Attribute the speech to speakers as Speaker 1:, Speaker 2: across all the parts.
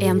Speaker 1: en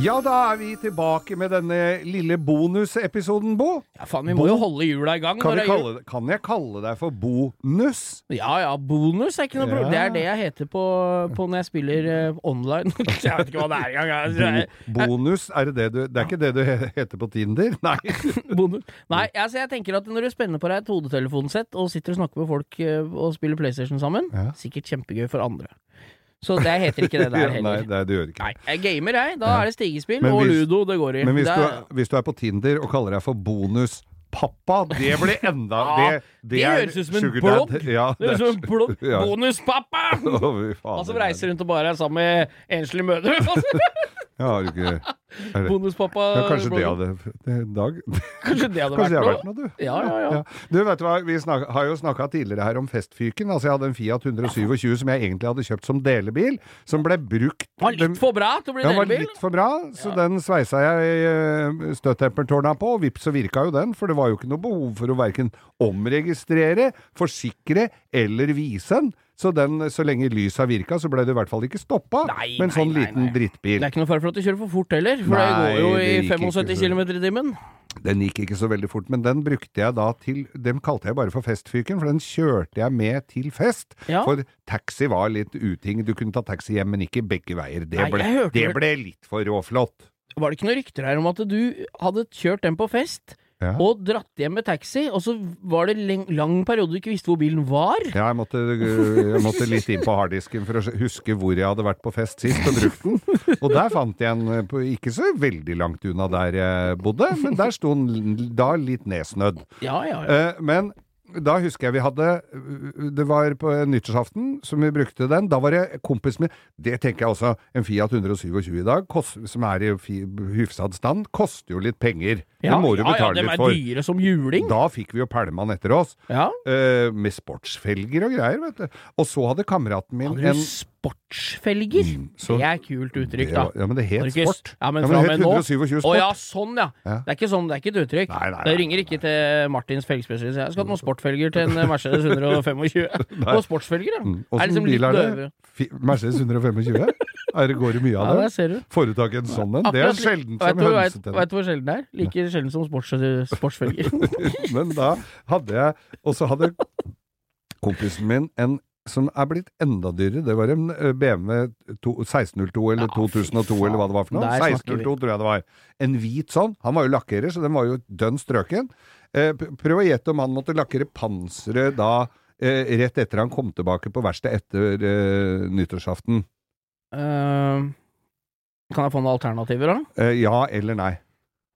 Speaker 2: Ja, da er vi tilbake med denne lille bonusepisoden, Bo.
Speaker 3: Ja, faen, vi må jo holde jula i gang.
Speaker 2: Kan, vi
Speaker 3: når det er jul.
Speaker 2: kalle, det- kan jeg kalle deg for bonus?
Speaker 3: Ja ja, bonus er ikke noe problem. Det
Speaker 2: Ja.
Speaker 3: er det jeg heter på, på når jeg spiller eh, online. jeg vet ikke hva det er engang. altså. jeg-
Speaker 2: Bo bonus, er det det du Det er ikke det du he- heter på Tinder? Nei.
Speaker 3: Bonus. Nei, altså jeg tenker at når du spenner på deg et hodetelefonsett og sitter og snakker med folk eh, og spiller PlayStation sammen,
Speaker 2: Ja.
Speaker 3: sikkert kjempegøy for andre. Så det heter ikke det der
Speaker 2: Nei,
Speaker 3: heller.
Speaker 2: det, du gjør ikke
Speaker 3: Nei,
Speaker 2: det.
Speaker 3: jeg gamer, jeg. Da er det stigespill
Speaker 2: Men
Speaker 3: og
Speaker 2: hvis-
Speaker 3: ludo det går i.
Speaker 2: Men hvis
Speaker 3: det
Speaker 2: du,
Speaker 3: er,
Speaker 2: er- hvis du er på Tinder og kaller deg for bonus Pappa, det blir enda
Speaker 3: Ja,
Speaker 2: Det, det,
Speaker 3: det
Speaker 2: er
Speaker 3: høres ut som en
Speaker 2: sugar dad.
Speaker 3: blogg.
Speaker 2: Ja,
Speaker 3: det er som en blå
Speaker 2: Ja.
Speaker 3: bonuspappa!
Speaker 2: Å, fy fader.
Speaker 3: Han som reiser rundt og bare er sammen med enslige mødre.
Speaker 2: Ja, har du ikke er det?
Speaker 3: Bonuspappa.
Speaker 2: Ja, kanskje det
Speaker 3: blogger.
Speaker 2: hadde det, Dag?
Speaker 3: Kanskje det hadde
Speaker 2: Kanskje det har
Speaker 3: vært
Speaker 2: vært noe, du?
Speaker 3: Ja, ja, ja.
Speaker 2: Ja. Du, vet du hva, Vi snak, har jo snakka tidligere her om festfyken. Altså Jeg hadde en Fiat 127 som jeg egentlig hadde kjøpt som delebil, som ble brukt
Speaker 3: Var litt for bra til å bli
Speaker 2: den var
Speaker 3: delebil.
Speaker 2: litt for bra, så den sveisa jeg eh, støttempertårna på, og vips så virka jo den, for det var jo ikke noe behov for å verken omregistrere, forsikre eller vise den. Så den, så lenge lysa virka, så ble det i hvert fall ikke stoppa
Speaker 3: Nei,
Speaker 2: med en sånn
Speaker 3: nei, nei,
Speaker 2: liten
Speaker 3: nei.
Speaker 2: drittbil.
Speaker 3: Det er ikke noe fare for at de kjører for fort heller, for
Speaker 2: Nei,
Speaker 3: det går jo i
Speaker 2: det gikk ikke
Speaker 3: 75
Speaker 2: så-
Speaker 3: km i timen.
Speaker 2: Den gikk ikke så veldig fort, men den brukte jeg da til Dem kalte jeg bare for Festfyken, for den kjørte jeg med til fest.
Speaker 3: Ja.
Speaker 2: For taxi var litt uting. Du kunne ta taxi hjem, men ikke begge veier. Det,
Speaker 3: Nei,
Speaker 2: ble,
Speaker 3: jeg hørte
Speaker 2: det
Speaker 3: vel-
Speaker 2: ble litt for råflott.
Speaker 3: Var det ikke noen rykter her om at du hadde kjørt den på fest,
Speaker 2: Ja.
Speaker 3: og dratt hjem med taxi, og så var det leng lang periode du ikke visste hvor bilen var?
Speaker 2: Ja, jeg måtte, jeg måtte litt inn på harddisken for å huske hvor jeg hadde vært på fest sist og brukt den. Og der fant jeg en eh, på ikke så veldig langt unna der jeg bodde, men der sto den da litt nedsnødd.
Speaker 3: Ja, ja, ja.
Speaker 2: Eh, Men da husker jeg vi hadde eh, Det var på nyttårsaften som vi brukte den. Da var det kompisen min Det tenker jeg også. En Fiat 127 i dag, kost, som er i fi- hyfsad stand, koster jo litt penger.
Speaker 3: Ja,
Speaker 2: det må du
Speaker 3: ja, ja,
Speaker 2: betale
Speaker 3: de
Speaker 2: litt
Speaker 3: er
Speaker 2: for.
Speaker 3: dyre som juling.
Speaker 2: Da fikk vi jo pælmann etter oss.
Speaker 3: Ja.
Speaker 2: eh, med sportsfelger og greier, vet du. Og så hadde kameraten min
Speaker 3: Hadde
Speaker 2: en Mm,
Speaker 3: du sportsfelger?
Speaker 2: så-
Speaker 3: det er kult uttrykk, da.
Speaker 2: Ja, ja, men det het
Speaker 3: Markus,
Speaker 2: sport.
Speaker 3: Ja, men
Speaker 2: Ja,
Speaker 3: fra
Speaker 2: men
Speaker 3: og
Speaker 2: det het
Speaker 3: med nå
Speaker 2: 127
Speaker 3: Å
Speaker 2: sport.
Speaker 3: ja, sånn ja.
Speaker 2: Ja.
Speaker 3: Det er ikke sånn, det er ikke et uttrykk.
Speaker 2: Nei, nei, nei,
Speaker 3: det ringer ikke til Martins felgspesialist. Jeg skulle hatt noen sportfelger til en Mercedes 125. og sportsfelger, ja.
Speaker 2: Mm.
Speaker 3: Er
Speaker 2: Åssen
Speaker 3: liksom
Speaker 2: bil er
Speaker 3: litt døve.
Speaker 2: det? Fi- Mercedes 125? Er det, går det mye
Speaker 3: Ja,
Speaker 2: av
Speaker 3: der
Speaker 2: det?
Speaker 3: ser du.
Speaker 2: Får du tak i en sånn en? Det er
Speaker 3: Akkurat slik-
Speaker 2: sjelden
Speaker 3: Vet
Speaker 2: som
Speaker 3: du hva- vet-
Speaker 2: hønsetenner.
Speaker 3: Vet du hvor sjelden det er? Like sjelden som sports, sportsfelger.
Speaker 2: Men da hadde jeg Og så hadde kompisen min en som er blitt enda dyrere. Det var en eh, BMW to- 1602 eller
Speaker 3: Ja, fy
Speaker 2: 2002
Speaker 3: faen.
Speaker 2: eller hva det var for noe.
Speaker 3: Der snakker vi.
Speaker 2: 1602 tror jeg det var. En hvit sånn. Han var jo lakkerer, så den var jo dønn strøken. Eh, p- prøv å gjette om han måtte lakkere panseret da eh, rett etter han kom tilbake på verkstedet etter eh, nyttårsaften.
Speaker 3: Ehm, kan jeg få noen alternativer, da?
Speaker 2: Eh, ja eller nei?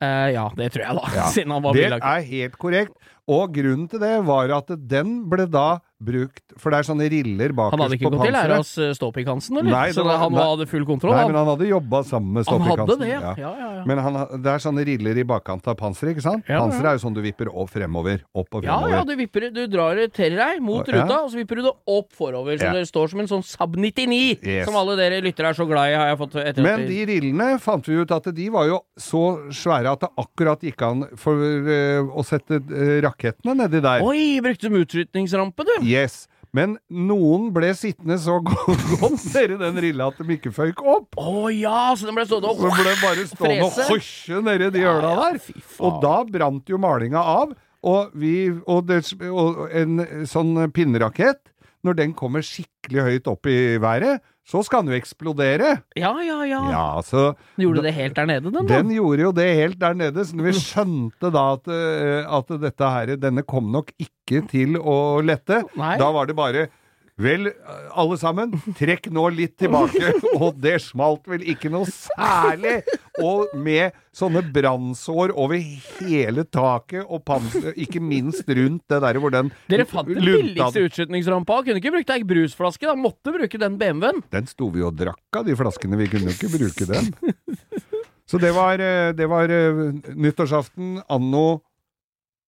Speaker 3: Eh, ja, det tror jeg, da.
Speaker 2: Ja.
Speaker 3: Siden han var
Speaker 2: Det
Speaker 3: billakker.
Speaker 2: er helt korrekt. Og grunnen til det var at den ble da brukt For det er sånne riller
Speaker 3: Han hadde
Speaker 2: bakerst
Speaker 3: ikke
Speaker 2: på
Speaker 3: gått i lære
Speaker 2: panseret.
Speaker 3: hos eh, Ståpikk Hansen, eller?
Speaker 2: Nei, det
Speaker 3: så
Speaker 2: var-
Speaker 3: han
Speaker 2: nei.
Speaker 3: hadde full kontroll?
Speaker 2: Nei,
Speaker 3: han,
Speaker 2: men han hadde jobba sammen med
Speaker 3: han
Speaker 2: Ståpik
Speaker 3: hadde
Speaker 2: Hansen.
Speaker 3: det, ja.
Speaker 2: ja.
Speaker 3: ja, ja, ja.
Speaker 2: Men han, ha- det er sånne riller i bakkant av panseret, ikke sant?
Speaker 3: Ja, ja.
Speaker 2: Panseret er jo sånn du vipper opp fremover. Opp og
Speaker 3: Ja,
Speaker 2: fremover.
Speaker 3: ja, du, vipper, du drar det til deg
Speaker 2: Å,
Speaker 3: mot
Speaker 2: ja.
Speaker 3: ruta, og så vipper du det opp forover. Så
Speaker 2: Ja.
Speaker 3: det står som en sånn Saab 99,
Speaker 2: Yes.
Speaker 3: som alle dere lyttere er så glad i, har jeg fått etter
Speaker 2: Men de rillene fant vi ut at de var jo så svære at det akkurat gikk an for eh, å sette eh, rakettene nedi der.
Speaker 3: Oi, brukte de utrydningsrampe, du?
Speaker 2: Yes. Men noen ble sittende så godt nedi den rilla at de ikke føyk opp.
Speaker 3: Å ja, så den ble stående
Speaker 2: Så
Speaker 3: og
Speaker 2: ble det bare stående og
Speaker 3: Frese.
Speaker 2: hosje nedi de øla
Speaker 3: ja,
Speaker 2: der.
Speaker 3: fy faen.
Speaker 2: Og da brant jo malinga av. Og, vi, og, det, og en sånn pinnerakett, når den kommer skikkelig høyt opp i været, så skal den jo eksplodere.
Speaker 3: Ja, ja, ja.
Speaker 2: Ja, så
Speaker 3: Gjorde det helt der nede, den, da?
Speaker 2: den gjorde jo det helt der nede, så vi skjønte da at, eh, at dette her, denne kom nok ikke til å lette.
Speaker 3: Nei.
Speaker 2: Da var det bare Vel, alle sammen, trekk nå litt tilbake. Og det smalt vel ikke noe særlig. Og med sånne brannsår over hele taket, og panser, ikke minst rundt det der hvor den
Speaker 3: Dere fant den
Speaker 2: lunta-
Speaker 3: billigste utskytningsrampa. Kunne ikke brukt ei brusflaske, da. Måtte bruke den BMW-en.
Speaker 2: Den sto vi og drakk av, de flaskene. Vi kunne jo ikke bruke den. Så det var, eh, det var eh, nyttårsaften anno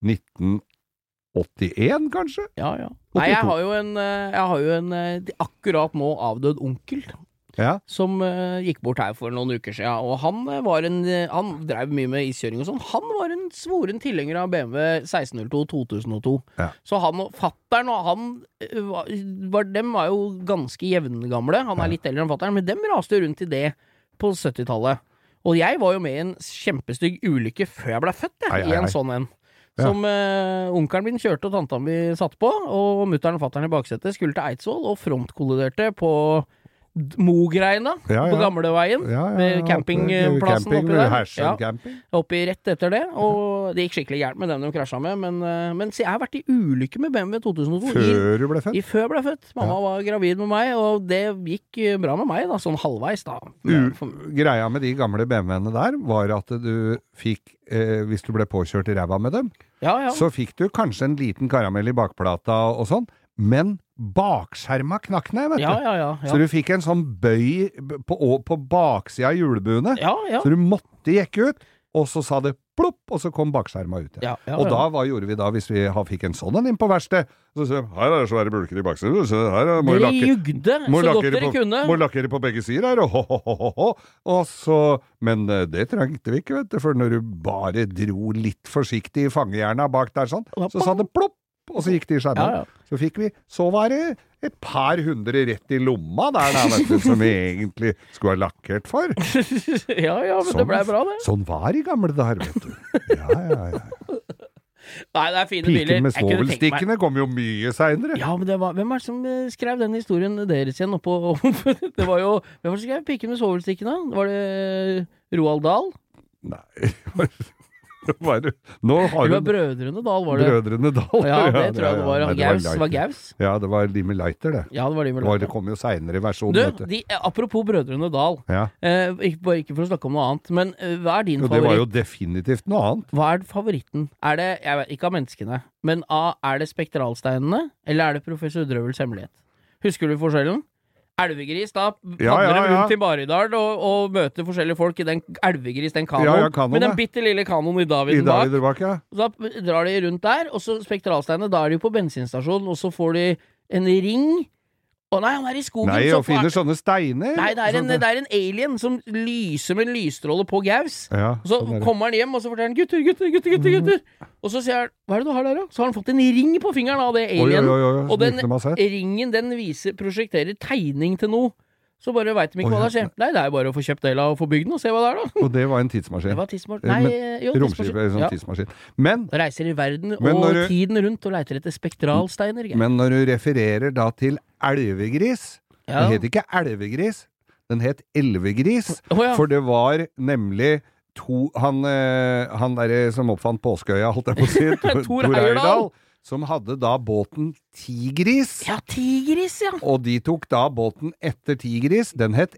Speaker 2: 1981, kanskje?
Speaker 3: Ja, ja. Nei, jeg har jo en, eh, jeg har jo en eh, akkurat nå avdød onkel.
Speaker 2: Ja.
Speaker 3: som eh, gikk bort her for noen uker siden. Og han, eh, var en, eh, han drev mye med iskjøring og sånn. Han var en svoren tilhenger av BMW 1602 2002.
Speaker 2: Ja.
Speaker 3: Så han og fattern og han eh, var, var, Dem var jo ganske jevngamle. Han er litt eldre enn fattern, men dem raste jo rundt i det på 70-tallet. Og jeg var jo med i en kjempestygg ulykke før jeg ble født, jeg,
Speaker 2: Ai, ai,
Speaker 3: i en
Speaker 2: ai.
Speaker 3: sånn en.
Speaker 2: Ja.
Speaker 3: Som eh, onkelen min kjørte og tanta mi satte på, og mutter'n og fatter'n i baksetet skulle til Eidsvoll og frontkolliderte på D- Mogreina
Speaker 2: Ja, ja.
Speaker 3: på gamleveien.
Speaker 2: Ja, ja,
Speaker 3: Med
Speaker 2: ja,
Speaker 3: campingplassen
Speaker 2: camping,
Speaker 3: oppi der.
Speaker 2: Hersøy
Speaker 3: Ja.
Speaker 2: camping.
Speaker 3: Oppi rett etter det, og det gikk skikkelig gærent med den de krasja med. Men, eh, men se, jeg har vært i ulykke med BMW 2002. I,
Speaker 2: Før du ble født?
Speaker 3: i før jeg ble født. Mamma var gravid med meg, og det gikk eh, bra med meg, da. Sånn halvveis, da. Men for-
Speaker 2: U greia med de gamle BMW-ene der var at du fikk, eh, hvis du ble påkjørt i ræva med dem,
Speaker 3: Ja, ja.
Speaker 2: så fikk du kanskje en liten karamell i bakplata og sånn, men bakskjerma knakk ned, vet du.
Speaker 3: Ja, ja, ja.
Speaker 2: Så
Speaker 3: ja.
Speaker 2: du fikk en sånn bøy b- på, å- på baksida av hjulbuene,
Speaker 3: Ja, ja.
Speaker 2: så du måtte jekke ut, og så sa det plopp, og så kom bakskjerma ut igjen.
Speaker 3: Ja, ja,
Speaker 2: Og
Speaker 3: ja.
Speaker 2: da, hva gjorde vi da hvis vi ha- fikk en sånn en inn på verkstedet? Så sier de, her er det svære bulker i baksiden, du, så her er- må du
Speaker 3: Dere
Speaker 2: lakke
Speaker 3: jugde
Speaker 2: må
Speaker 3: så godt
Speaker 2: lakkere
Speaker 3: dere
Speaker 2: på,
Speaker 3: kunne.
Speaker 2: må lakkere på begge sider her, og ho, ho, ho, ho, ho. Og så, men eh, det trengte vi ikke, vet du, for når du bare dro litt forsiktig i fangejerna bak der sånn,
Speaker 3: Og da
Speaker 2: så sa det plopp, og så gikk det i skjermen.
Speaker 3: Ja, ja.
Speaker 2: Så fikk vi, så var det et par hundre rett i lomma der, da, vet du, som vi egentlig skulle ha lakkert for.
Speaker 3: ja, ja, men det blei bra, det.
Speaker 2: Sånn var i gamle dager, vet du. Ja, ja, ja.
Speaker 3: Nei, det er fine biler.
Speaker 2: Piken med
Speaker 3: Jeg kunne tenkt meg-
Speaker 2: svovelstikkene kom jo mye seinere.
Speaker 3: Ja, men det var, Hvem er det som eh, skrev den historien deres igjen? Oppå, det var jo Hvem var det som skrev 'Piken med svovelstikkene'? Var det eh, Roald Dahl?
Speaker 2: Nei, var det- nå har du
Speaker 3: Eller var det Brødrene Dahl, var det?
Speaker 2: Brødrene Dahl.
Speaker 3: Ja, det tror jeg det var.
Speaker 2: ja, nei,
Speaker 3: Han Gaus. Det
Speaker 2: Leiter.
Speaker 3: var Gaus.
Speaker 2: Ja, det var de med lighter, det.
Speaker 3: Ja, det var de
Speaker 2: Det,
Speaker 3: med
Speaker 2: var,
Speaker 3: løpet.
Speaker 2: det kom jo seinere versjon, vet
Speaker 3: Du,
Speaker 2: du.
Speaker 3: de, eh, apropos Brødrene Dahl.
Speaker 2: Ja.
Speaker 3: Eh, ikke, bare ikke for å snakke om noe annet, men eh, hva er din
Speaker 2: Jo, det var
Speaker 3: favoritt?
Speaker 2: jo definitivt noe annet.
Speaker 3: Hva er favoritten? Er det, jeg vet, Ikke av menneskene, men av, er det spektralsteinene, eller er det professor Drøvels hemmelighet? Husker du forskjellen? Elvegris, da
Speaker 2: Ja,
Speaker 3: vandrer
Speaker 2: ja,
Speaker 3: de
Speaker 2: ja.
Speaker 3: rundt i Maridalen og, og møter forskjellige folk i den elvegris, den kanoen.
Speaker 2: Ja, ja, kanoen,
Speaker 3: med
Speaker 2: ja.
Speaker 3: den bitte lille kanoen i
Speaker 2: I
Speaker 3: Daviden bak.
Speaker 2: David Bak, ja.
Speaker 3: Da drar de rundt der, og så spektralsteinene. Da er de jo på bensinstasjonen, og så får de en ring. Å nei, han er i skogen!
Speaker 2: Nei,
Speaker 3: så
Speaker 2: og finner Sånn,
Speaker 3: får-
Speaker 2: sånne steiner.
Speaker 3: Nei, det er, en,
Speaker 2: Sånne-
Speaker 3: det er en alien som lyser med en lysstråle på Gaus.
Speaker 2: ja,
Speaker 3: Og så
Speaker 2: sånn er det.
Speaker 3: kommer han hjem og så forteller han 'gutter, gutter, gutter'. gutter, gutter. Og så sier han 'hva er det du har der', da? Så har han fått en ring på fingeren av det
Speaker 2: Oi, oi,
Speaker 3: alien.
Speaker 2: oi, oi,
Speaker 3: og den-
Speaker 2: snikende meg sett.
Speaker 3: Ringen den viser, prosjekterer tegning til noe. Så bare veit de ikke
Speaker 2: Oi,
Speaker 3: hva
Speaker 2: ja.
Speaker 3: det er. sier han. Nei, det er jo bare å få kjøpt dela og få bygd den, og se hva det er, da.
Speaker 2: Og det var en
Speaker 3: Det
Speaker 2: tidsmaskin.
Speaker 3: var tidsmaskin.
Speaker 2: Eh, men-
Speaker 3: Nei, jo,
Speaker 2: Romskip,
Speaker 3: tidsmaskin.
Speaker 2: eller sånn
Speaker 3: Ja.
Speaker 2: tidsmaskin. Men,
Speaker 3: Og Reiser i verden
Speaker 2: Men
Speaker 3: og
Speaker 2: når du-
Speaker 3: tiden rundt og leiter etter spektralsteiner. Geir.
Speaker 2: men når du refererer da til elvegris
Speaker 3: Ja.
Speaker 2: Den het ikke elvegris, den het elvegris.
Speaker 3: Å ja.
Speaker 2: For det var nemlig to Han, eh, han derre som oppfant Påskeøya, holdt jeg på å si, Tor-
Speaker 3: Tor
Speaker 2: Tor
Speaker 3: Heyerdahl.
Speaker 2: Eirdal, som hadde da båten Tigris.
Speaker 3: ja, tigris, ja.
Speaker 2: Og de tok da båten etter Tigris. Den het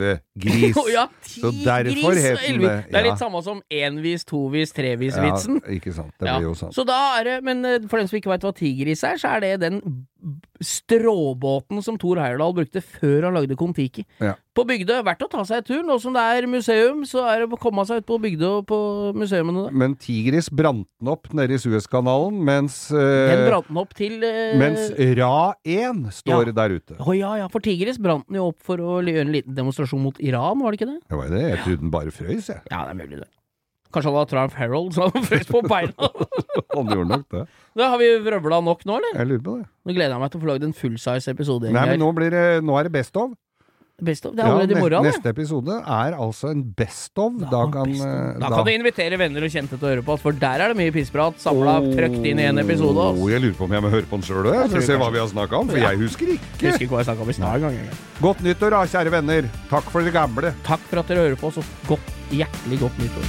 Speaker 2: Elvegris.
Speaker 3: Å ja,
Speaker 2: Så
Speaker 3: tigris
Speaker 2: derfor
Speaker 3: og
Speaker 2: het den
Speaker 3: elvis.
Speaker 2: det,
Speaker 3: Det
Speaker 2: ja.
Speaker 3: er litt samme som envis, tovis,
Speaker 2: Ja,
Speaker 3: trevis-vitsen.
Speaker 2: ikke sant. Det
Speaker 3: Ja.
Speaker 2: blir jo sånn.
Speaker 3: Så da er det, men eh, for dem som ikke veit hva tigris er, så er det den b- stråbåten som Thor Heyerdahl brukte før han lagde Kon-Tiki.
Speaker 2: Ja.
Speaker 3: På Bygdø, verdt å ta seg en tur. Nå som det er museum, så er det å komme seg ut på Bygdø og på museene. der.
Speaker 2: Men Tigris brant den opp nede i Suezkanalen, mens,
Speaker 3: Den
Speaker 2: eh,
Speaker 3: brant den opp til eh,
Speaker 2: mens Ra 1 står
Speaker 3: Ja.
Speaker 2: der ute.
Speaker 3: Å ja, ja, for Tigris brant den jo opp for å gjøre en liten demonstrasjon mot Iran, var det ikke det?
Speaker 2: Det var jo det. Jeg trodde den bare frøys, jeg.
Speaker 3: Ja, det er mulig, det. Kanskje han har Triumph Herald så han frøs på beina.
Speaker 2: Han gjorde nok det.
Speaker 3: da har vi vrøvla nok nå, eller?
Speaker 2: Jeg lurer på det.
Speaker 3: Nå gleder jeg meg til å få lagd en fullsize episode.
Speaker 2: Nei, men
Speaker 3: Geir.
Speaker 2: nå, blir det, nå er det Best of.
Speaker 3: Best of. Det er
Speaker 2: Ja,
Speaker 3: allerede i
Speaker 2: ne-
Speaker 3: morgen, det.
Speaker 2: neste episode er altså en Best of. Da, kan
Speaker 3: best
Speaker 2: eh,
Speaker 3: Da kan du invitere venner og kjente til å høre på oss, for der er det mye pissprat samla trøkt inn i en episode.
Speaker 2: Åh,
Speaker 3: Altså.
Speaker 2: Oh, Jeg lurer på om jeg må høre på den sjøl, jeg.
Speaker 3: tror
Speaker 2: For å se
Speaker 3: kanskje-
Speaker 2: hva vi har snakka om. For
Speaker 3: Ja.
Speaker 2: jeg husker ikke.
Speaker 3: Husker ikke hva jeg snakka om i stad engang. jeg.
Speaker 2: Godt nyttår, da, kjære venner. Takk for det gamle.
Speaker 3: Takk for at dere hører på oss, og godt, hjertelig godt nyttår.